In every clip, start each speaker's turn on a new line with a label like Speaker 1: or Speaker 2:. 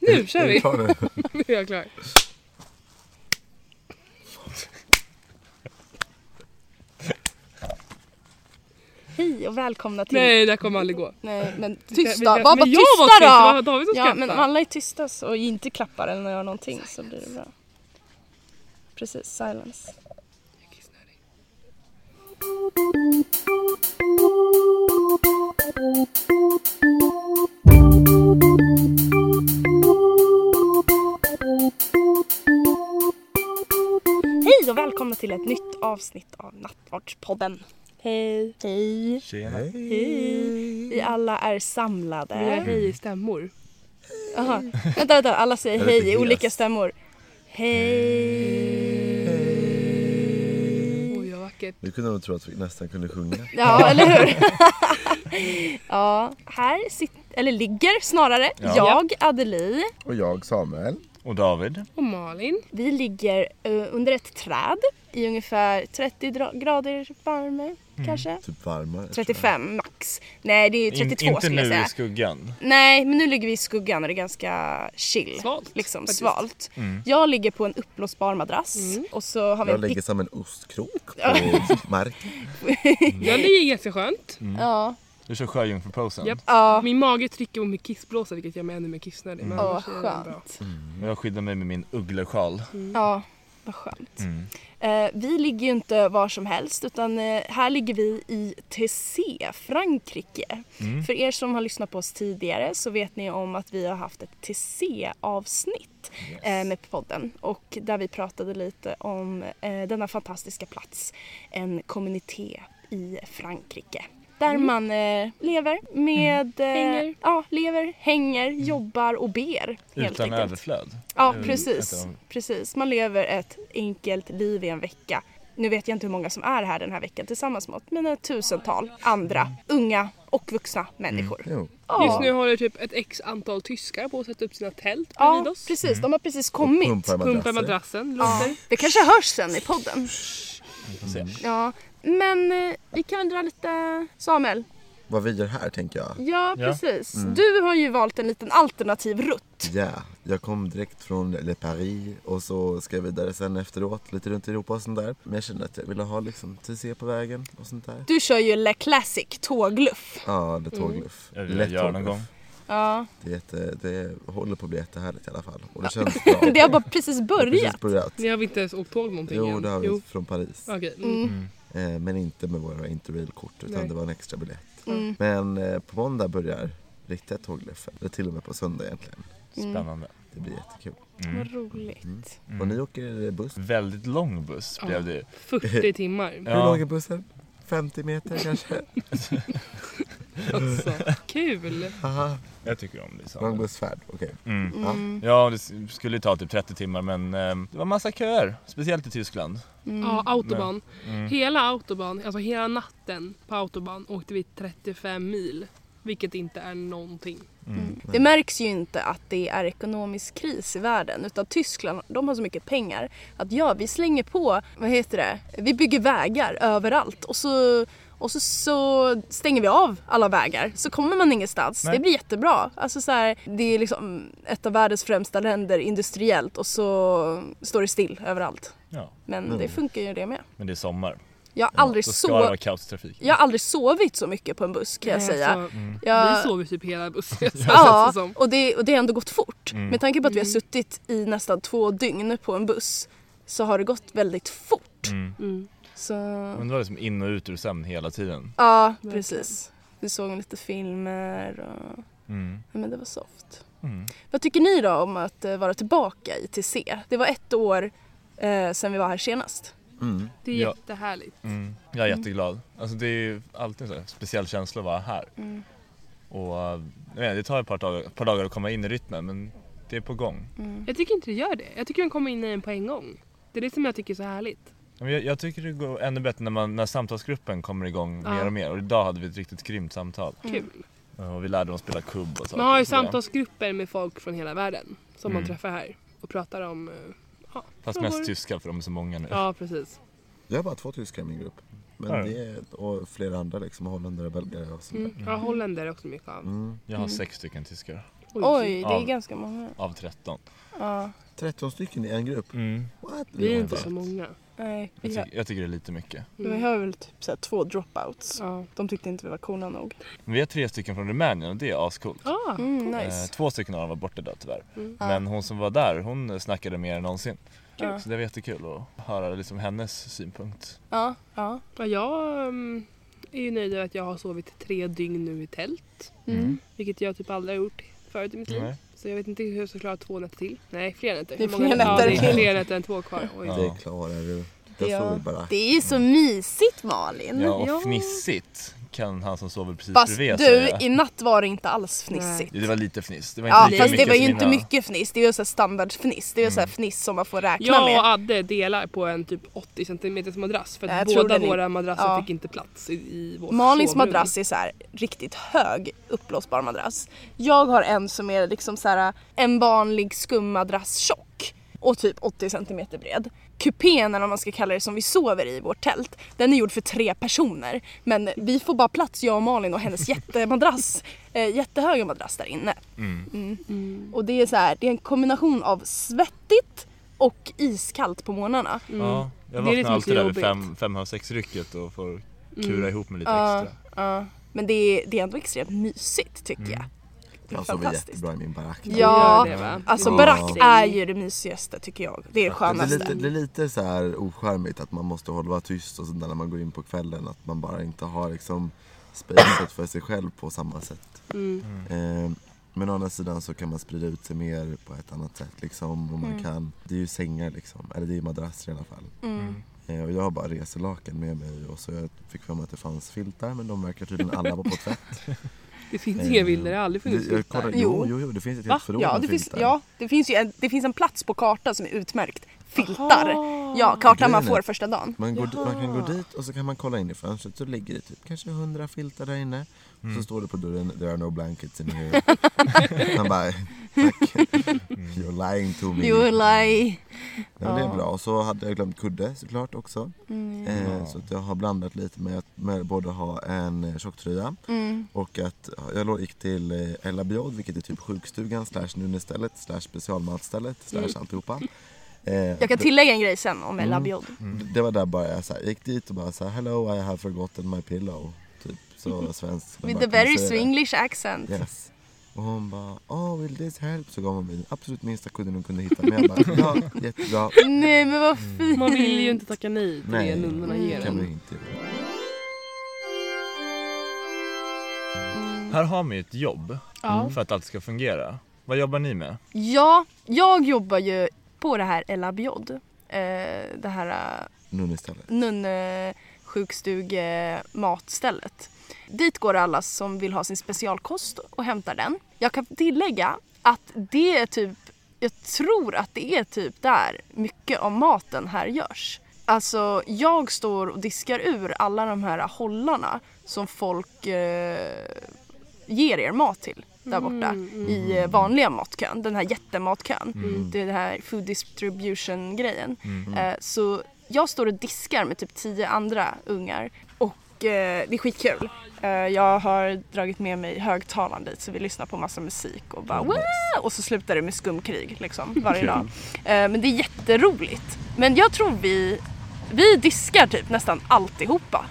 Speaker 1: Nu kör vi!
Speaker 2: Ta nu.
Speaker 1: Nu är jag klar.
Speaker 3: Hej och välkomna till...
Speaker 1: Nej, det här kommer aldrig gå.
Speaker 3: Nej, men
Speaker 1: Men
Speaker 3: tysta.
Speaker 1: jag-
Speaker 3: Var bara
Speaker 1: men jag
Speaker 3: tysta
Speaker 1: var
Speaker 3: då!
Speaker 1: tyst, det var David som
Speaker 3: ja,
Speaker 1: skrattade.
Speaker 3: men om alla är tysta så- och inte klappar eller gör någonting så blir det bra. Precis, silence. Hej och välkomna till ett nytt avsnitt av Nattvardspodden. Hej. Hej. Vi alla är samlade.
Speaker 1: Vi gör hej
Speaker 3: Mm.
Speaker 1: i stämmor.
Speaker 3: Aha. Vänta, vänta, alla säger
Speaker 2: Eller
Speaker 3: hej i
Speaker 2: till
Speaker 3: olika
Speaker 2: Elias.
Speaker 3: stämmor. Hej.
Speaker 1: Oj, vad vackert.
Speaker 2: Du kunde nog tro att vi nästan kunde sjunga.
Speaker 3: Ja, eller hur? ja, här sitter, eller ligger snarare,
Speaker 4: Ja.
Speaker 3: jag, Adelie.
Speaker 2: Och jag Samuel.
Speaker 4: Och David.
Speaker 1: Och Malin.
Speaker 3: Vi ligger eh, under ett träd i ungefär 30 dra- grader varme,
Speaker 4: Mm.
Speaker 3: kanske.
Speaker 2: Typ varmare.
Speaker 3: 35 max. Nej, det är 32
Speaker 4: In, inte
Speaker 3: skulle jag
Speaker 4: nu
Speaker 3: säga.
Speaker 4: i skuggan.
Speaker 3: Nej, men nu ligger vi i skuggan och det är ganska chill.
Speaker 1: Svalt,
Speaker 3: liksom,
Speaker 1: faktiskt. Mm.
Speaker 3: svalt. Jag ligger på en uppblåsbar madrass och så har vi
Speaker 2: Mm. Jag
Speaker 3: en
Speaker 2: ligger
Speaker 3: pick-
Speaker 2: som en ostkrok på marken.
Speaker 1: Ja, det är ganska skönt.
Speaker 3: Ja.
Speaker 4: Du kör sjöjungfruposen.
Speaker 1: Japp.
Speaker 3: Ja.
Speaker 1: Min mage trycker mot min kissblåsa vilket gör mig ännu mer kissnödig.
Speaker 2: Mm.
Speaker 1: Men
Speaker 3: Åh,
Speaker 1: annars är det bra.
Speaker 3: skönt.
Speaker 4: Och Mm. jag skyddar mig med min ugglesjal.
Speaker 3: Ja, vad skönt. Eh, vi ligger ju inte var som helst utan eh, här ligger vi i Tessé, Frankrike. För er som har lyssnat på oss tidigare så vet ni om att vi har haft ett Tessé-avsnitt eh, med podden och där vi pratade lite om eh, denna fantastiska plats, en kommunitet i Frankrike. Där man eh, lever med... eh,
Speaker 1: Hänger.
Speaker 3: Ja, lever, hänger, jobbar och ber. Helt
Speaker 4: Utan
Speaker 3: enkelt.
Speaker 4: överflöd.
Speaker 3: Ja,
Speaker 4: Det är väl
Speaker 3: precis.
Speaker 4: ett av-
Speaker 3: precis. Man lever ett enkelt liv i en vecka. Nu vet jag inte hur många som är här den här veckan tillsammans med oss, men ett tusental andra unga och vuxna människor.
Speaker 2: Jo.
Speaker 3: Mm. Ja.
Speaker 1: Just nu håller typ ett x antal tyskar på att sätta upp sina tält bredvid
Speaker 3: Ja,
Speaker 1: oss.
Speaker 3: precis. De har precis kommit.
Speaker 2: Pumpar
Speaker 1: Pumpar
Speaker 2: madrasser.
Speaker 1: madrassen, låter.
Speaker 3: Det kanske hörs sen i podden.
Speaker 4: får se.
Speaker 3: Ja, men eh, vi kan dra lite... Samuel,
Speaker 2: Vad vi gör här tänker jag.
Speaker 3: ja Mm.
Speaker 4: Ja.
Speaker 3: precis. Du har ju valt en liten alternativ rutt.
Speaker 2: Ja, jag kom direkt från Le Paris och så ska jag vidare sen efteråt lite runt Europa och sånt där. Men jag kände att jag ville ha liksom TC på vägen och sånt där.
Speaker 3: Du kör ju Le Classic tågluff.
Speaker 2: Ja, det är tågluff.
Speaker 4: Jag
Speaker 2: Lätt
Speaker 4: vill göra någon
Speaker 2: tågluff.
Speaker 4: gång.
Speaker 3: Ja.
Speaker 2: Det, är jätte, det håller på att bli jättehärligt i alla fall. Och det känns bra.
Speaker 3: Det har bara precis börjat.
Speaker 2: Precis börjat.
Speaker 1: Ni har väl inte ens åkt tåg någonting
Speaker 2: Jo,
Speaker 1: än?
Speaker 2: det har vi från Paris.
Speaker 1: Okej. Mm.
Speaker 2: Eh, Men inte med våra interrailkort utan
Speaker 1: Nej.
Speaker 2: det var en extra biljett.
Speaker 3: Mm.
Speaker 2: Men eh, på måndag börjar riktiga tågluffen. Eller till och med på söndag egentligen.
Speaker 3: Mm.
Speaker 4: Spännande.
Speaker 2: Det blir jättekul.
Speaker 4: Mm.
Speaker 3: Vad roligt.
Speaker 2: Och ni åker buss?
Speaker 4: Väldigt lång buss blev det ju.
Speaker 1: 40 timmar.
Speaker 2: Hur
Speaker 4: Ja,
Speaker 2: lång är bussen? 50 meter kanske?
Speaker 1: Alltså, kul!
Speaker 2: Aha,
Speaker 4: jag tycker om det.
Speaker 2: lång
Speaker 4: Så.
Speaker 2: bussfärd. Okej.
Speaker 4: Mm.
Speaker 2: Ja.
Speaker 4: Ja, det s- skulle ta typ 30 timmar men ehm, det var massa köer. Speciellt i Tyskland.
Speaker 3: Mm.
Speaker 1: Ja, autobahn. Hela autobahn, alltså hela natten på autobahn åkte vi 35 mil. Vilket inte är någonting.
Speaker 3: Mm.
Speaker 4: Mm.
Speaker 3: Det märks ju inte att det är ekonomisk kris i världen utan Tyskland de har så mycket pengar att ja, vi slänger på, vad heter det, vi bygger vägar överallt och så, och så, så stänger vi av alla vägar så kommer man ingenstans.
Speaker 4: Nej.
Speaker 3: Det blir jättebra. Alltså så här, det är liksom ett av världens främsta länder industriellt och så står det still överallt.
Speaker 4: Ja,
Speaker 3: Men det funkar ju det med.
Speaker 4: men det är sommar.
Speaker 3: Jag har aldrig,
Speaker 4: Då Mm. ska det
Speaker 3: sov...
Speaker 4: vara kaostrafik. Mm.
Speaker 3: jag har aldrig sovit så mycket på en buss kan jag
Speaker 1: Nej,
Speaker 3: säga.
Speaker 1: alltså,
Speaker 3: Jag...
Speaker 1: Vi sov ju typ hela bussen känns det
Speaker 3: Ja,
Speaker 1: som.
Speaker 3: och det, och det har ändå gått fort. Med tanke på att vi har suttit i nästan två dygn på en buss så har det gått väldigt fort. Mm. Så,
Speaker 4: Mm. Men det var liksom in och ut ur sömn hela tiden.
Speaker 3: ja, precis. Vi såg lite filmer och
Speaker 4: Mm.
Speaker 3: ja, men det var soft.
Speaker 4: Mm.
Speaker 3: Vad tycker ni då om att eh, vara tillbaka i TC? Det var ett år eh, sedan vi var här senast.
Speaker 2: Mm.
Speaker 1: Det är
Speaker 4: Ja.
Speaker 1: jättehärligt.
Speaker 4: Mm. Jag är jätteglad. Alltså det är ju alltid en sån här speciell känsla att vara här. Och eh, jag vet, det tar ett par dagar, par dagar att komma in i rytmen men det är på gång.
Speaker 1: Jag tycker inte det gör det. Jag tycker man kommer in i den på en gång. Det är det som jag tycker är så härligt.
Speaker 4: Men Jag, jag tycker det går ännu bättre när, man, när samtalsgruppen kommer igång
Speaker 1: Ja.
Speaker 4: mer och mer och idag hade vi ett riktigt grymt samtal.
Speaker 3: Mm.
Speaker 1: Kul.
Speaker 4: Och vi lärde dem spela kubb och så.
Speaker 1: Man har ju samtalsgrupper med folk från hela världen som man träffar här och pratar om... eh, Ja,
Speaker 4: Fast
Speaker 1: frågor.
Speaker 4: mest tyska för de är så många nu.
Speaker 1: Ja, precis.
Speaker 2: Jag har bara två tyskar i min grupp. Men
Speaker 4: Ja.
Speaker 2: det är, och flera andra liksom, holländare, belgare och sånt där.
Speaker 1: Mm. Ja, holländare är också mycket av.
Speaker 2: Mm.
Speaker 4: Jag har sex stycken tyskar.
Speaker 3: Oj, det är
Speaker 4: Ja.
Speaker 3: ganska många.
Speaker 4: av 13.
Speaker 3: Ja,
Speaker 2: 13 stycken i en grupp.
Speaker 4: Mm.
Speaker 2: What?
Speaker 1: Vi är
Speaker 2: Ja.
Speaker 1: inte så många.
Speaker 3: nej.
Speaker 4: Jag,
Speaker 3: Vi har,
Speaker 4: tycker, jag tycker det är lite mycket.
Speaker 1: Mm.
Speaker 3: vi har väl typ så här två dropouts.
Speaker 1: Ja.
Speaker 3: De tyckte inte vi var coola nog.
Speaker 4: Men vi har tre stycken från Rumänien och det är ascoolt.
Speaker 1: Ah,
Speaker 3: Mm,
Speaker 4: Eh,
Speaker 3: nice.
Speaker 4: Två stycken av dem var borta då tyvärr.
Speaker 1: Mm.
Speaker 4: Men hon som var där hon snackade mer än någonsin.
Speaker 3: Ja.
Speaker 4: Så det var jättekul att höra liksom hennes synpunkt.
Speaker 3: Ja, ja.
Speaker 1: ja, jag mm, är ju nöjd över att jag har sovit tre dygn nu i tält.
Speaker 3: Mm.
Speaker 1: Vilket jag typ aldrig har gjort förut i mitt liv.
Speaker 4: Nej.
Speaker 1: Så jag vet inte hur jag ska klara två nätter till. Nej, fler nätter.
Speaker 3: Det är
Speaker 1: Hur många
Speaker 3: fler
Speaker 1: ja,
Speaker 3: nätter
Speaker 1: det är
Speaker 3: till.
Speaker 1: fler nätter än två kvar. Oj.
Speaker 4: Ja.
Speaker 2: Det klarar du. Jag
Speaker 3: Ja.
Speaker 2: sover bara.
Speaker 5: Det är ju så mysigt Malin.
Speaker 4: Ja och
Speaker 1: Ja.
Speaker 4: fnissigt kan han som sover precis
Speaker 3: Fast
Speaker 4: bredvid
Speaker 3: du,
Speaker 4: säga.
Speaker 3: i natt var det inte alls fnissigt.
Speaker 4: Ja, det var lite fniss. Det var inte
Speaker 3: Ja,
Speaker 4: lika
Speaker 3: fast det
Speaker 4: mycket
Speaker 3: var ju
Speaker 4: som
Speaker 3: inte
Speaker 4: innan. Mm.
Speaker 3: mycket fniss. Det är ju såhär standardfniss. Det är ju såhär fniss som man får räkna
Speaker 1: Jag
Speaker 3: med.
Speaker 1: och Adde delar på en typ 80 centimeters madrass för
Speaker 3: Ja, jag
Speaker 1: att
Speaker 3: tror
Speaker 1: båda
Speaker 3: den är-
Speaker 1: våra madrasser
Speaker 3: ja.
Speaker 1: fick inte plats i, i vårt
Speaker 3: Malins
Speaker 1: sovrum.
Speaker 3: madrass är så här riktigt hög uppblåsbar madrass. Jag har en som är liksom så här en vanlig skummadrass tjock och typ 80 cm bred. Kupén eller vad man ska kalla det som vi sover i i vårt tält, den är gjord för tre personer. Men vi får bara plats jag och Malin och hennes jättemadrass, eh, jättehöga madrass där inne. Mm. Och det är så här, det är en kombination av svettigt och iskallt på morgnarna.
Speaker 4: Ja, Mm. jag
Speaker 1: Det är
Speaker 4: vaknar
Speaker 1: liksom
Speaker 4: alltid
Speaker 1: lite
Speaker 4: där vid
Speaker 1: jobbigt.
Speaker 4: fem, fem halv sex-rycket och får
Speaker 1: Mm.
Speaker 4: kura ihop mig lite
Speaker 3: Mm. Ja.
Speaker 4: extra.
Speaker 3: Ja. Mm. Men det är, det är ändå extremt mysigt tycker jag. Det är
Speaker 2: Jag sover
Speaker 3: fantastiskt.
Speaker 2: jättebra i min barack.
Speaker 1: Vi
Speaker 3: Ja.
Speaker 1: gör det, va?
Speaker 3: Alltså
Speaker 1: Ja.
Speaker 3: barack är ju det mysigaste tycker jag. Det är det
Speaker 2: Det är lite,
Speaker 3: skönaste.
Speaker 2: det är lite så här ocharmigt att man måste hålla vara tyst och sånt där när man går in på kvällen. Att man bara inte har liksom spacet för sig själv på samma sätt.
Speaker 1: Mm.
Speaker 2: Eh, men å andra sidan så kan man sprida ut sig mer på ett annat sätt liksom. Och man
Speaker 3: Mm.
Speaker 2: kan, det är ju sängar liksom, eller det är ju madrasser i alla fall.
Speaker 3: Mm.
Speaker 2: Eh, och jag har bara reselaken med mig och så jag fick för mig att det fanns filtar men de verkar tydligen alla vara på tvätt.
Speaker 1: Det finns inga bilder, det har aldrig funnits
Speaker 2: Jag kollar-
Speaker 1: filtar.
Speaker 2: Jo, jo, jo, det finns ett
Speaker 1: Va?
Speaker 2: helt förråd
Speaker 3: Ja,
Speaker 2: med
Speaker 3: det finns,
Speaker 2: filtar.
Speaker 3: ja det, finns ju en, det finns en plats på kartan som är utmärkt. Filtar.
Speaker 1: Ah.
Speaker 3: Ja, kartan man
Speaker 2: Grejen är-
Speaker 3: får första dagen.
Speaker 2: Man, går, man kan gå dit och så kan man kolla in i fönstret så ligger det typ kanske hundra filtar där inne. Och så står det på dörren “There are no blankets in here”. man bara “Tack, you're lying to me”.
Speaker 5: You lie.
Speaker 2: Ja, men det är bra. Och så hade jag glömt kudde såklart också. Eh, så att jag har blandat lite med att med både ha en eh, tjocktröja
Speaker 3: Mm.
Speaker 2: och att ja, jag lå- gick till eh, Ella Biod, vilket är typ sjukstugan slash nunnestället slash specialmatstället slash alltihopa. Eh,
Speaker 3: Jag kan tillägga en grej sen om
Speaker 2: Mm.
Speaker 3: Ella Biod.
Speaker 2: D- Det var där bara jag så här, gick dit och bara så här, hello I have forgotten my pillow. Typ så svenskt. Men
Speaker 3: With
Speaker 2: bara,
Speaker 3: a
Speaker 2: kan du
Speaker 3: very
Speaker 2: säga det?
Speaker 3: Swinglish accent.
Speaker 2: Yes. Och hon bara, oh will this help? Så gav hon mig den absolut minsta kudden hon kunde hitta. Men jag bara, ja jättebra.
Speaker 3: Nej men vad
Speaker 2: Mm.
Speaker 3: fint.
Speaker 1: Man vill ju inte tacka nej till
Speaker 2: Nej.
Speaker 1: det nunnorna
Speaker 3: Mm.
Speaker 1: ger
Speaker 2: kan vi
Speaker 1: en.
Speaker 2: inte göra.
Speaker 4: Här har man ju ett jobb för att allt ska fungera. Vad jobbar ni med?
Speaker 3: Ja, jag jobbar ju på det här Ella Biod. Eh, det här eh,
Speaker 2: Nunnestället.
Speaker 3: nunnesjukstugematstället. Dit går alla som vill ha sin specialkost och hämtar den. Jag kan tillägga att det är typ, jag tror att det är typ där mycket av maten här görs. Alltså jag står och diskar ur alla de här hållarna som folk eh, ger er mat till där borta i eh, vanliga matkön, den här jättematkön. Det är den här food distribution grejen. Eh, så jag står och diskar med typ tio andra ungar och eh, det är skitkul. Eh, jag har dragit med mig högtalaren dit så vi lyssnar på massa musik och bara wow! Och så slutar det med skumkrig liksom varje dag. Eh, men det är jätteroligt. Men jag tror vi, vi diskar typ nästan alltihopa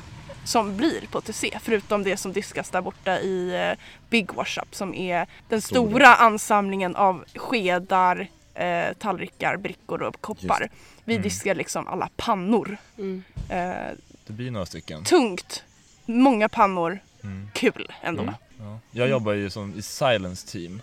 Speaker 3: som blir på TC förutom det som diskas där borta i eh, Big Wash Up som är den
Speaker 2: Stora.
Speaker 3: stora ansamlingen av skedar, eh, tallrikar, brickor och koppar. Vi
Speaker 2: Mm.
Speaker 3: diskar liksom alla pannor.
Speaker 1: Mm.
Speaker 3: Eh,
Speaker 4: Det blir några stycken.
Speaker 3: tungt, många pannor,
Speaker 2: Mm.
Speaker 3: kul ändå.
Speaker 4: Ja. Jag jobbar ju som i Silence Team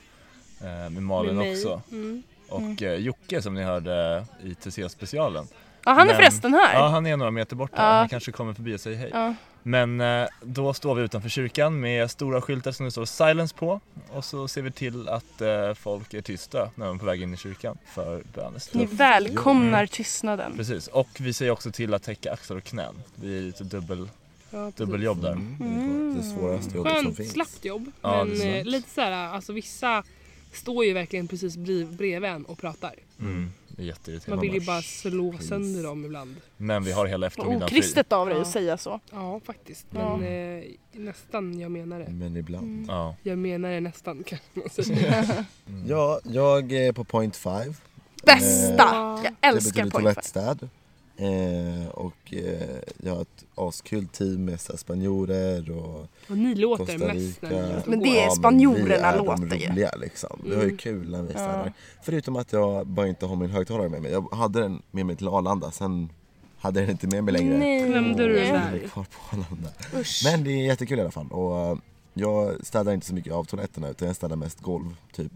Speaker 4: eh, med Malin
Speaker 1: Med mig. Mm.
Speaker 4: också.
Speaker 3: Mm.
Speaker 4: Och eh, Jocke som ni hörde i TC-specialen.
Speaker 3: Ja, han är
Speaker 4: Men-
Speaker 3: förresten här.
Speaker 4: Ja, han är några meter borta. Han kanske kommer förbi och säger hej. Men eh, då står vi utanför kyrkan med stora skyltar som det står Silence på. Och så ser vi till att eh, folk är tysta när de är på väg in i kyrkan för
Speaker 3: Ni
Speaker 4: bönestund.
Speaker 3: välkomnar
Speaker 2: Mm.
Speaker 3: tystnaden.
Speaker 4: Precis, och vi säger också till att täcka axlar och knän. Vi är lite dubbel,
Speaker 1: Ja, precis.
Speaker 4: dubbeljobb där.
Speaker 2: Mm. Det svåraste jobbet som
Speaker 1: Skönt
Speaker 2: finns.
Speaker 1: slappt jobb.
Speaker 4: Ja,
Speaker 1: men
Speaker 4: det är
Speaker 1: eh,
Speaker 4: sant.
Speaker 1: lite så här, alltså vissa står ju verkligen precis brev- bredvid en och pratar.
Speaker 4: Mm. Det är jätteirriterande.
Speaker 1: Man vill ju
Speaker 2: Man bara,
Speaker 1: bara slå
Speaker 2: "Please."
Speaker 1: sönder dem ibland.
Speaker 4: Men vi har hela eftermiddagen fri.
Speaker 3: Okristet av dig
Speaker 1: Ja.
Speaker 3: att säga så.
Speaker 1: Ja, faktiskt.
Speaker 3: Ja.
Speaker 1: Men eh, nästan, jag menar det.
Speaker 2: Men ibland.
Speaker 4: Ja.
Speaker 1: Jag menar det nästan kan man säga.
Speaker 2: Ja, jag är på point five.
Speaker 3: Bästa! Jag
Speaker 2: Eh, Det
Speaker 3: älskar
Speaker 2: betyder
Speaker 3: pojkar.
Speaker 2: toalettstäd. Eh, och eh, jag har ett askul team med så här, spanjorer och
Speaker 1: Och ni låter
Speaker 2: Costa
Speaker 1: mest
Speaker 2: Rica.
Speaker 1: när ni
Speaker 3: Men
Speaker 1: går.
Speaker 3: det är-
Speaker 2: men
Speaker 3: spanjorerna
Speaker 2: vi är
Speaker 3: låter
Speaker 2: de
Speaker 3: ju.
Speaker 2: roliga, liksom. Vi har ju kul när vi stannar. Förutom att jag bara inte har min högtalare med mig. Jag hade den med mig till Arlanda, sen hade jag den inte med mig längre.
Speaker 3: Mm.
Speaker 1: Glömde du den
Speaker 2: Jag är
Speaker 1: där?
Speaker 2: kvar på Arlanda. Men det är jättekul i alla fall. Och eh, jag städar inte så mycket av toaletterna utan jag städar mest golv. Typ.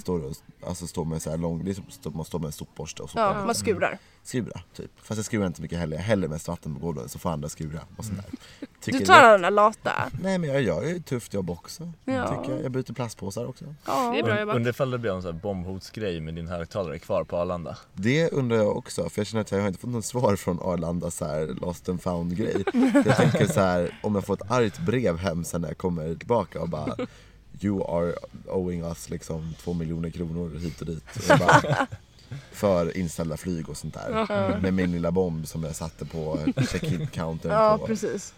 Speaker 2: Står, och, alltså, står med så här lång, det är som att man står med en sopborste och sopar
Speaker 3: Ja, man skurar.
Speaker 2: skura typ. Fast jag skurar inte så mycket heller. Jag häller mest vatten på golvet så får andra skura och sånt där. Tycker
Speaker 3: Du
Speaker 2: det-
Speaker 3: tar den där lata.
Speaker 2: Nej men jag gör ju ett tufft jobb också.
Speaker 3: Ja.
Speaker 2: Tycker jag. jag byter plastpåsar också.
Speaker 1: Det är bra
Speaker 4: Und-
Speaker 1: jobbat.
Speaker 4: Undrar ifall det blir en sån här bombhotsgrej med din högtalare kvar på Arlanda.
Speaker 2: Det undrar jag också för jag känner att jag har inte fått något svar från Arlanda så här lost and found grej. Jag tänker så här om jag får ett argt brev hem sen när jag kommer tillbaka och bara You are owing us liksom två miljoner kronor hit och dit. Och jag bara, för inställda flyg och sånt där. Med min lilla bomb som jag satte på check-in-countern
Speaker 3: Ja,
Speaker 2: på
Speaker 3: precis.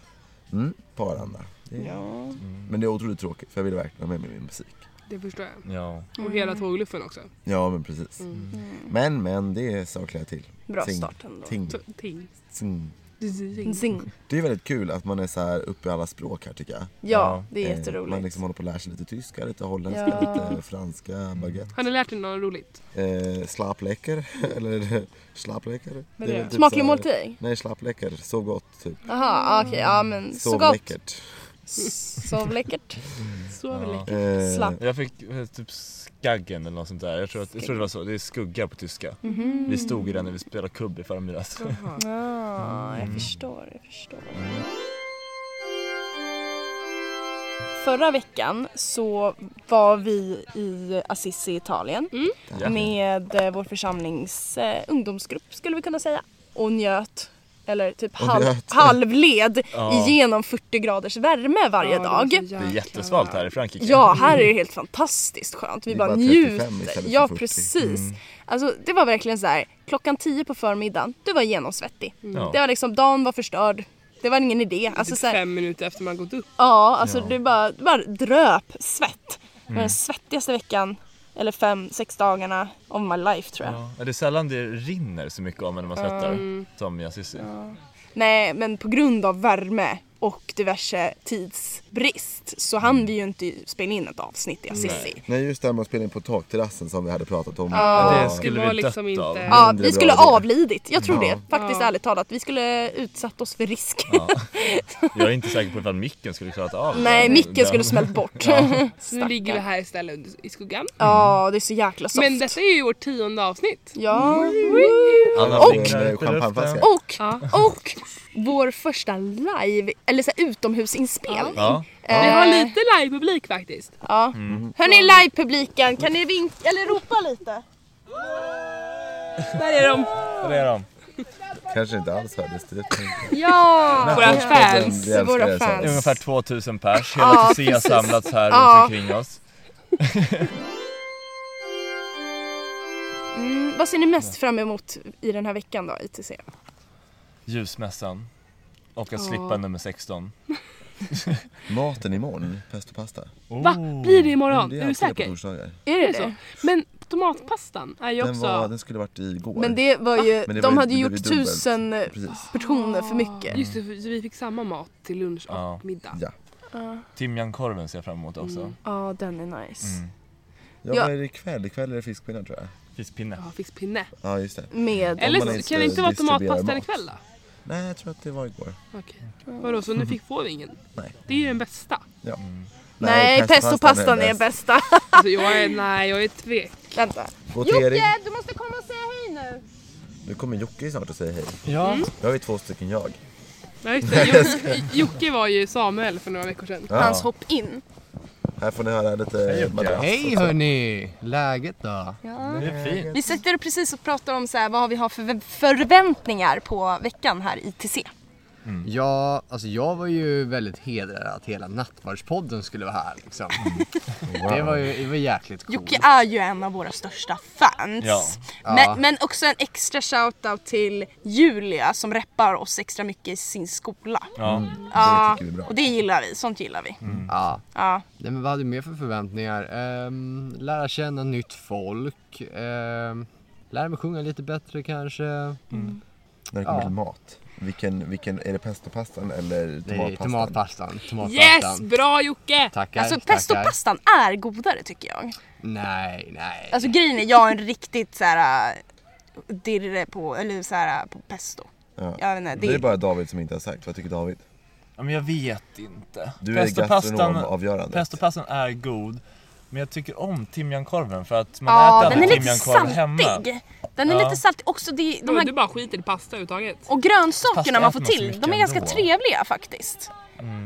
Speaker 2: Mm, på Arlanda. Det är-
Speaker 3: Ja.
Speaker 2: Men det är otroligt tråkigt för jag ville verkligen ha med mig min musik.
Speaker 1: Det förstår jag.
Speaker 4: Ja.
Speaker 1: Och hela tågluffen också.
Speaker 2: Ja men precis.
Speaker 3: Mm.
Speaker 2: Men men det saknar jag till.
Speaker 3: Bra
Speaker 2: Ting.
Speaker 3: start ändå.
Speaker 2: Ting,
Speaker 1: Så, ting.
Speaker 2: ting.
Speaker 1: Mm.
Speaker 3: Zing.
Speaker 2: Det är väldigt kul att man är så här uppe i alla språk här tycker jag.
Speaker 3: Ja, det är
Speaker 2: Eh, Man
Speaker 3: jätteroligt.
Speaker 2: liksom håller på att lära sig lite tyska, lite holländska,
Speaker 3: Ja.
Speaker 2: lite franska, baguette.
Speaker 1: Har ni lärt er något roligt?
Speaker 2: Eh, slappläcker eller slappläcker.
Speaker 1: Vad är det?
Speaker 2: typ så
Speaker 3: Smaklig
Speaker 2: här-
Speaker 3: måltid?
Speaker 2: Nej slappläcker, sov gott typ.
Speaker 3: Jaha, okej. Ja, men Mm, så
Speaker 2: Sov
Speaker 3: gott.
Speaker 2: läckert.
Speaker 3: Sov läckert.
Speaker 1: Så väl
Speaker 4: Mm. Ja.
Speaker 1: lätt.
Speaker 2: Eh,
Speaker 3: Slapp.
Speaker 4: Jag fick eh, typ skaggen eller något sånt där. Jag tror, att, jag tror det var så. Det är skugga på tyska. Vi stod i den när vi spelade kubb i förmiddags.
Speaker 1: Jaha.
Speaker 3: Ja, Ah,
Speaker 2: Mm.
Speaker 3: jag förstår, jag förstår. Förra veckan så var vi i Assisi, Italien
Speaker 1: Mm.
Speaker 4: Ja.
Speaker 3: med eh, vår församlings eh, ungdomsgrupp skulle vi kunna säga och njöt eller typ
Speaker 2: Och
Speaker 3: halv,
Speaker 2: njöt.
Speaker 3: halvled
Speaker 4: Ja.
Speaker 3: igenom 40 graders värme varje
Speaker 1: Ja, det var
Speaker 3: dag.
Speaker 1: så
Speaker 4: Det är
Speaker 1: jäkla-
Speaker 4: jättesvalt här i Frankrike.
Speaker 3: Ja, här är det helt fantastiskt skönt.
Speaker 2: Mm. Det
Speaker 3: Vi
Speaker 2: är
Speaker 3: bara
Speaker 2: bara
Speaker 3: njuter.
Speaker 2: 35 istället för Mm.
Speaker 3: Ja,
Speaker 2: 40.
Speaker 3: precis. Alltså, det var verkligen så här, klockan 10 på förmiddagen, du var genomsvettig.
Speaker 1: Mm.
Speaker 4: Ja.
Speaker 3: Det var liksom, dagen var förstörd. Det var ingen idé. Alltså,
Speaker 1: Typ
Speaker 3: så här,
Speaker 1: fem minuter efter man gått upp.
Speaker 3: ja, alltså du bara, du bara dröp svett. Det
Speaker 2: Mm.
Speaker 3: var den svettigaste veckan, eller fem, sex dagarna of my life tror jag.
Speaker 4: Ja. Det är sällan det rinner så mycket om en när man svettar. Som i Assisi.
Speaker 3: Nej, men på grund av värme och diverse tidsbrist så hann vi ju inte spela in ett avsnitt i Assisi.
Speaker 2: Mm. Nej just det här med att spela in på takterrassen som vi hade pratat om. Eh,
Speaker 4: Ja, det
Speaker 2: Och-
Speaker 4: skulle
Speaker 1: var
Speaker 4: vi
Speaker 1: liksom
Speaker 4: dött av.
Speaker 1: inte-
Speaker 3: Ja,
Speaker 2: mindre
Speaker 3: vi skulle
Speaker 2: bra idé.
Speaker 3: avlidit. Jag tror
Speaker 2: Ja.
Speaker 3: det. Faktiskt
Speaker 1: Ja.
Speaker 3: ärligt talat. Vi skulle utsatt oss för risk.
Speaker 4: Jag är inte säker på ifall micken skulle klarat av
Speaker 3: Nej,
Speaker 4: den-
Speaker 3: micken
Speaker 4: den-
Speaker 3: skulle smält bort.
Speaker 4: Ja.
Speaker 1: Så nu ligger vi
Speaker 3: Stackarn.
Speaker 1: här istället under- i skuggan.
Speaker 3: Ja, det är så jäkla soft.
Speaker 1: Men detta är ju vårt tionde avsnitt.
Speaker 3: Ja.
Speaker 4: Alla
Speaker 2: Och-
Speaker 4: fingrar upp i luften.
Speaker 2: eh, champagneflaska.
Speaker 3: Och,
Speaker 1: Ja.
Speaker 3: och vår första live, eller så här, utomhusinspelning.
Speaker 4: Ja.
Speaker 3: Eh,
Speaker 1: Vi har lite live-publik faktiskt.
Speaker 3: ja. Hörni live-publiken, kan ni vinka eller ropa lite?
Speaker 1: Där är de.
Speaker 4: Ja, det är de.
Speaker 2: Kanske inte alls hördes det.
Speaker 3: Ja!
Speaker 1: Våra fans.
Speaker 2: Vi älskar
Speaker 3: våra
Speaker 2: er så.
Speaker 3: fans.
Speaker 4: Ungefär 2000 pers. Hela Tessia har samlats här
Speaker 3: Ja.
Speaker 4: runt omkring oss.
Speaker 3: Mm, vad ser ni mest fram emot i den här veckan då, ITC?
Speaker 4: Ljusmässan. Och att slippa nummer 16.
Speaker 2: Maten imorgon, pesto pasta.
Speaker 1: Va? Blir det imorgon?
Speaker 2: Oh, Det
Speaker 1: är du
Speaker 2: alltid på
Speaker 1: säker?
Speaker 2: torsdagar.
Speaker 3: Är det
Speaker 1: Är det så?
Speaker 3: det?
Speaker 1: Men tomatpastan är ju
Speaker 2: Den,
Speaker 1: också...
Speaker 2: var, den skulle varit igår.
Speaker 3: Men det var ju,
Speaker 2: Men
Speaker 3: de
Speaker 2: det var ju-
Speaker 3: hade ju
Speaker 2: det
Speaker 3: gjort
Speaker 2: blev ju dubbelt.
Speaker 3: tusen
Speaker 2: Precis.
Speaker 3: portioner för mycket.
Speaker 1: Just det, för- så vi fick samma mat till lunch och
Speaker 4: Ja.
Speaker 1: middag.
Speaker 2: Ja.
Speaker 4: Timjankorven ser jag fram emot också.
Speaker 3: Ja, den är nice.
Speaker 2: Mm. Ja,
Speaker 3: Ja.
Speaker 2: Vad är det ikväll? Ikväll är det fiskpinnar tror jag.
Speaker 4: Fiskpinne.
Speaker 1: Ja, fiskpinne.
Speaker 2: Ja just det.
Speaker 3: Med...
Speaker 1: Eller
Speaker 2: man
Speaker 1: så,
Speaker 2: inte
Speaker 1: kan det inte vara
Speaker 2: distribuerar
Speaker 1: tomatpastan
Speaker 2: mat.
Speaker 1: ikväll då?
Speaker 2: Nej jag tror att det var igår.
Speaker 1: Okej. Vadå, så nu fick får vi ingen?
Speaker 2: Nej.
Speaker 1: Det är ju den bästa.
Speaker 2: Ja.
Speaker 3: Nej, pestopastan är bästa.
Speaker 1: Alltså jag är, nej jag är tvek.
Speaker 3: Vänta.
Speaker 2: Votering.
Speaker 5: du måste komma och säga hej nu.
Speaker 2: Nu kommer Jocke snart och säger hej.
Speaker 4: Ja.
Speaker 2: Då har vi två stycken jag.
Speaker 1: Ja, just det. Jo- Jocke var ju Samuel för några veckor sedan.
Speaker 2: Ja.
Speaker 3: Hans hopp in.
Speaker 2: Här får ni höra lite madrass.
Speaker 6: Hej hörni! Läget då?
Speaker 4: Det är fint.
Speaker 3: Vi sitter och precis och pratar om så här, vad vi har för förväntningar på veckan här i TC.
Speaker 6: Ja, alltså jag var ju väldigt hedrad att hela Nattvardspodden skulle vara här liksom. Det var ju det var jäkligt coolt.
Speaker 3: Jocke är ju en av våra största fans.
Speaker 4: Ja.
Speaker 6: Ja.
Speaker 3: Men, men också en extra shoutout till Julia som reppar oss extra mycket i sin skola.
Speaker 4: Ja.
Speaker 3: Ja,
Speaker 2: tycker vi är bra.
Speaker 3: och det gillar vi. Sånt gillar vi.
Speaker 6: Ja.
Speaker 3: Ja.
Speaker 6: Nej, men vad hade du mer för förväntningar? Ehm, lära känna nytt folk. Ehm, lära mig sjunga lite bättre kanske.
Speaker 2: När det kommer
Speaker 6: Ja.
Speaker 2: till mat. Vilken, vilken, är det pestopastan eller
Speaker 6: Nej,
Speaker 2: tomatpastan?
Speaker 6: tomatpastan.
Speaker 1: Yes!
Speaker 6: Tomatpastan.
Speaker 1: Bra Jocke!
Speaker 6: Tackar,
Speaker 3: Alltså
Speaker 6: tackar.
Speaker 3: pestopastan är godare tycker jag.
Speaker 6: Nej, nej.
Speaker 3: Alltså grejen är, jag är en riktigt såhär dirre på, eller såhär på pesto.
Speaker 2: Ja.
Speaker 3: Jag vet inte,
Speaker 2: Det är
Speaker 3: det,
Speaker 2: bara David som inte har sagt. Vad tycker David?
Speaker 4: Ja, men jag vet inte.
Speaker 2: Du är
Speaker 4: Pestopastan-
Speaker 2: gastronom avgörande.
Speaker 4: Pestopastan är god. Men jag tycker om timjankorven för att man
Speaker 3: ja,
Speaker 4: äter
Speaker 3: den är
Speaker 4: aldrig
Speaker 3: lite
Speaker 4: timjankorv hemma.
Speaker 3: saltig. Den är
Speaker 4: Ja.
Speaker 3: lite saltig. Också det, de
Speaker 1: Men
Speaker 3: här,
Speaker 1: Du bara skiter i pasta överhuvudtaget.
Speaker 3: och grönsakerna
Speaker 4: Fast
Speaker 3: man
Speaker 4: äter
Speaker 3: får
Speaker 4: man så
Speaker 3: till,
Speaker 4: mycket
Speaker 3: de är ganska
Speaker 4: ändå. Mm.
Speaker 3: trevliga faktiskt.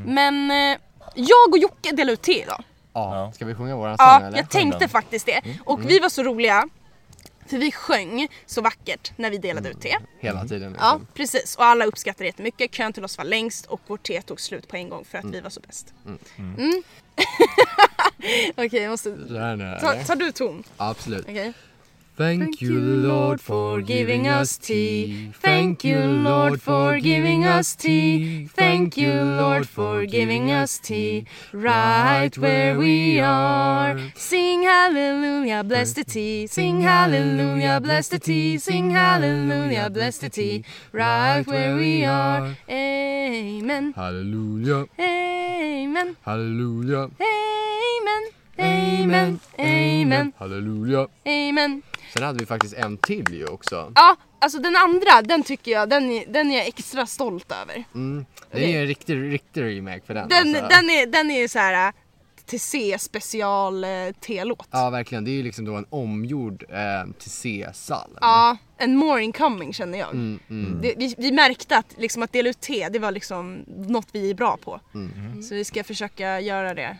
Speaker 3: Men eh, jag och Jocke delade ut te idag.
Speaker 6: Ja,
Speaker 4: Ja.
Speaker 6: ska vi sjunga våran sång
Speaker 3: Ja,
Speaker 6: eller?
Speaker 3: jag tänkte
Speaker 4: den.
Speaker 3: faktiskt det.
Speaker 2: Mm.
Speaker 3: Och vi var så roliga, för vi sjöng så vackert när vi delade ut te.
Speaker 6: Hela tiden.
Speaker 3: Ja,
Speaker 6: liksom.
Speaker 3: precis. Och alla uppskattade det jättemycket. Kön till oss var längst och vårt te tog slut på en gång för att vi var så bäst. Mm. Okej, jag måste...
Speaker 6: Så här nu,
Speaker 3: Ta,
Speaker 6: eller?
Speaker 3: tar du ton?
Speaker 6: Absolut.
Speaker 3: Okej.
Speaker 6: Thank you Lord for giving us tea. Thank you Lord for giving us tea. Thank you Lord for giving us tea. Right where we are.
Speaker 3: Sing hallelujah, bless the tea. Sing hallelujah, bless the tea. Sing hallelujah, bless the tea. Right where we are. Amen.
Speaker 6: Halleluja,
Speaker 3: Amen.
Speaker 6: halleluja,
Speaker 3: Amen. Amen. Amen.
Speaker 6: halleluja.
Speaker 3: Amen.
Speaker 6: Sen hade vi faktiskt en till ju också.
Speaker 3: Ja, alltså den andra, den tycker jag, den är, den är jag extra stolt över.
Speaker 6: Mm. Det är ju en riktig, riktig remake för den.
Speaker 3: Den,
Speaker 6: alltså.
Speaker 3: den är, den är ju så här TC special eh, T-låt. Ja.
Speaker 6: Ja verkligen, det är ju liksom då en omgjord eh, till C-salm.
Speaker 3: en more incoming känner jag. Det, vi, vi märkte att, liksom, att dela ut te, det var liksom något vi är bra på. Så vi ska försöka göra det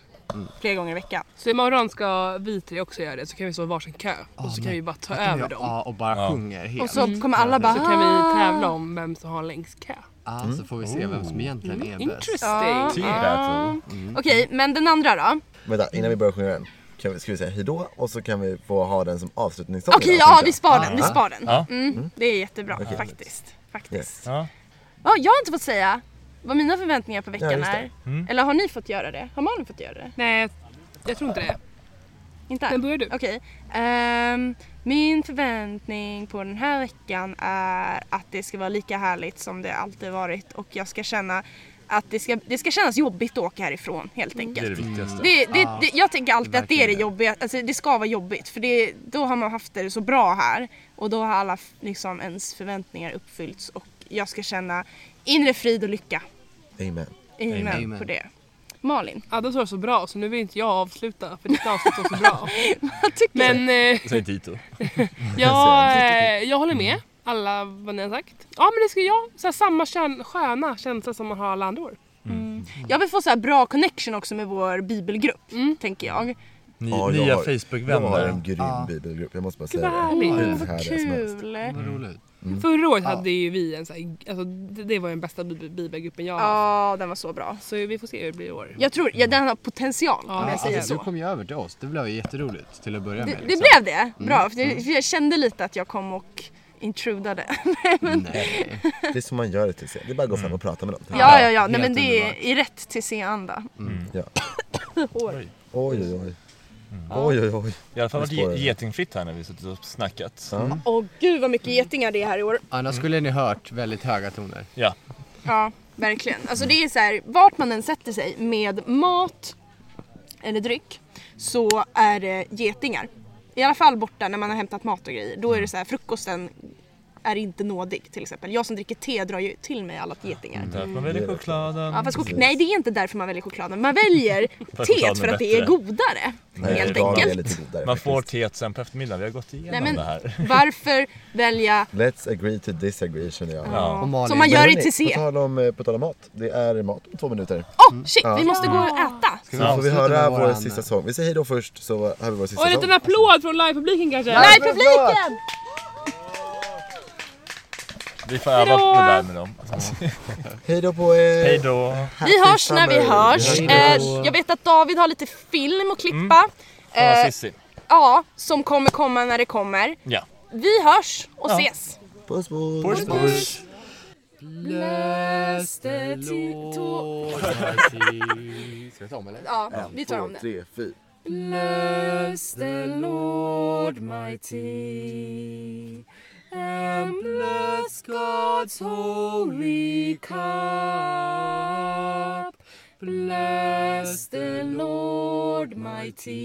Speaker 3: flera gånger i veckan.
Speaker 1: Så imorgon ska vi tre också göra det så kan vi stå i varsin kö och så kan vi bara ta över
Speaker 6: Ja,
Speaker 1: dem.
Speaker 6: Ja, och bara
Speaker 4: Ja.
Speaker 6: sjunger helt.
Speaker 3: Och så kommer alla bara
Speaker 1: Så kan vi tävla om vem som har längst kö.
Speaker 6: Ah, Så får vi se vem som egentligen är bäst.
Speaker 1: Interesting!
Speaker 3: Ja.
Speaker 4: Tea battle.
Speaker 3: "Ah, Okej, men den andra då?
Speaker 2: Vänta, innan vi
Speaker 3: Mm.
Speaker 2: börjar sjunga den. Kan vi, ska vi säga hejdå och så kan vi få ha den som avslutningssång?
Speaker 3: Okej,
Speaker 2: idag,
Speaker 3: ja
Speaker 2: tänkte
Speaker 3: vi
Speaker 2: jag.
Speaker 3: spar den. Vi spar den.
Speaker 4: Ja.
Speaker 3: Mm, det är jättebra faktiskt. faktiskt.
Speaker 2: Yes.
Speaker 4: Ja.
Speaker 3: Ja, jag har inte fått säga vad mina förväntningar på
Speaker 2: Ja,
Speaker 3: veckan
Speaker 2: just det.
Speaker 3: är. Eller har ni fått göra det? Har Malin fått göra det?
Speaker 1: Nej, jag tror inte det.
Speaker 3: Inte än?
Speaker 1: Men börjar du.
Speaker 3: Okej. Ehm, min förväntning på den här veckan är att det ska vara lika härligt som det alltid varit och jag ska känna att det ska, det ska kännas jobbigt att åka härifrån helt
Speaker 4: Mm. Det är det
Speaker 3: enkelt.
Speaker 4: viktigaste.
Speaker 3: Det, det, det, jag tänker alltid att det är det
Speaker 6: verkligen det.
Speaker 3: jobbiga, alltså det ska vara jobbigt för det, då har man haft det så bra här och då har alla f- liksom ens förväntningar uppfyllts och jag ska känna inre frid och lycka.
Speaker 2: Amen.
Speaker 3: Amen,
Speaker 6: Amen.
Speaker 3: på det. Malin,
Speaker 1: Adda sa det så bra så nu vill inte jag avsluta för ditt avsnitt var så bra.
Speaker 3: vad tycker du?
Speaker 1: Men eh,
Speaker 4: Säg Tito.
Speaker 1: jag, eh, jag håller med alla vad ni har sagt. Ja men det ska jag. Så här, samma kön, sköna känsla som man har alla andra år.
Speaker 3: Jag vill få så här bra connection också med vår bibelgrupp,
Speaker 4: Mm.
Speaker 3: tänker jag.
Speaker 4: Ny,
Speaker 2: Ja, jag
Speaker 4: nya
Speaker 2: har- Jag har en
Speaker 4: Facebookvänner.
Speaker 2: grym
Speaker 6: Ja.
Speaker 2: bibelgrupp, jag måste bara
Speaker 1: Gud
Speaker 2: säga
Speaker 1: vad
Speaker 2: det.
Speaker 1: härligt.
Speaker 2: Det är
Speaker 3: Åh,
Speaker 2: det
Speaker 3: vad
Speaker 2: härligaste som helst.
Speaker 3: kul!
Speaker 6: Vad
Speaker 3: Mm.
Speaker 6: roligt.
Speaker 1: Förra året hade ju vi en så här, alltså, det det var ju den bästa bi- bibelgruppen jag har haft.
Speaker 3: Ja, den var så bra.
Speaker 1: Så vi får se hur det blir i år.
Speaker 3: Jag tror, ja, den har potential
Speaker 1: Ja,
Speaker 3: om jag säger
Speaker 6: Alltså, du
Speaker 3: så.
Speaker 6: kom ju över till oss, det blev ju jätteroligt till att börja
Speaker 3: Det,
Speaker 6: med.
Speaker 3: det
Speaker 6: liksom.
Speaker 3: blev det,
Speaker 2: Mm.
Speaker 3: bra. För jag, för jag kände lite att jag kom och intrudade.
Speaker 6: Nej.
Speaker 2: Det är som man gör det till sig. Det är bara att gå fram och prata med dem.
Speaker 3: Ja, ja, ja. Nej,
Speaker 6: helt
Speaker 3: men det är
Speaker 6: underbart.
Speaker 3: i rätt till C-anda.
Speaker 2: Ja.
Speaker 3: Hår.
Speaker 2: Oj, oj, oj. Oj, oj, oj.
Speaker 4: I alla fall varit
Speaker 2: Jag spårar.
Speaker 4: ge- getingfritt här när vi suttit och snackat. Mm.
Speaker 2: Ja.
Speaker 3: Åh gud vad mycket getingar det är här i år.
Speaker 6: Annars skulle ni hört väldigt höga toner.
Speaker 4: Ja.
Speaker 3: Ja, verkligen. Alltså det är så här, vart man än sätter sig med mat eller dryck så är det getingar. I alla fall borta när man har hämtat mat och grejer. Då är det så här, frukosten är inte nådig till exempel. Jag som dricker te drar ju till mig alla getingar.
Speaker 4: Därför man
Speaker 2: Mm.
Speaker 4: väljer chokladen.
Speaker 3: Ja, fast chok- nej, det är inte därför man väljer chokladen. Man väljer teet för
Speaker 4: chokladen är
Speaker 3: att det är
Speaker 4: bättre.
Speaker 3: godare. helt
Speaker 2: idag är jag
Speaker 3: enkelt.
Speaker 2: lite godare
Speaker 4: Man får
Speaker 2: faktiskt.
Speaker 4: teet sen på eftermiddagen. Vi har gått igenom
Speaker 3: Nej, men-
Speaker 4: det här.
Speaker 3: Varför välja...
Speaker 2: Let's agree to disagree känner jag.
Speaker 4: Ja.
Speaker 6: Och Malin,
Speaker 3: Som man
Speaker 2: Men
Speaker 3: gör i
Speaker 2: hörni, På
Speaker 3: TC.
Speaker 2: tal, om, eh, på tal om mat, det är mat om två minuter.
Speaker 3: Åh shit, vi måste gå och äta!
Speaker 2: Så får
Speaker 6: ska
Speaker 2: vi
Speaker 6: avsluta
Speaker 2: höra
Speaker 6: med
Speaker 2: vår
Speaker 6: våran-
Speaker 2: sista sång. Vi säger hejdå först så har vi vår sista
Speaker 1: Och en
Speaker 2: sång.
Speaker 1: liten applåd från livepubliken kanske?
Speaker 3: Nej, publiken!
Speaker 4: vi får öva på det där med dem.
Speaker 2: Hej då på er!
Speaker 4: Hej då!
Speaker 3: Vi hörs när vi hörs. Eh, jag vet att David har lite film att klippa.
Speaker 4: Kolla
Speaker 3: Eh,
Speaker 4: Cissi.
Speaker 3: ja, som kommer komma när det kommer.
Speaker 4: Ja.
Speaker 3: Vi hörs och ses.
Speaker 2: Puss puss!
Speaker 4: Puss puss!
Speaker 6: Läste
Speaker 3: till- to-
Speaker 7: Ska vi ta om eller?
Speaker 3: Ja, vi tar om det.
Speaker 2: tre, fyra.
Speaker 6: Bless the Lord mighty, and bless God's holy cup. Bless the Lord mighty,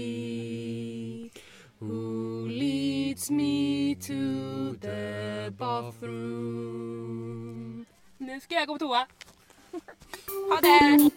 Speaker 6: who leads me to the bathroom.
Speaker 1: Nu ska jag gå på toa.
Speaker 3: Ha det!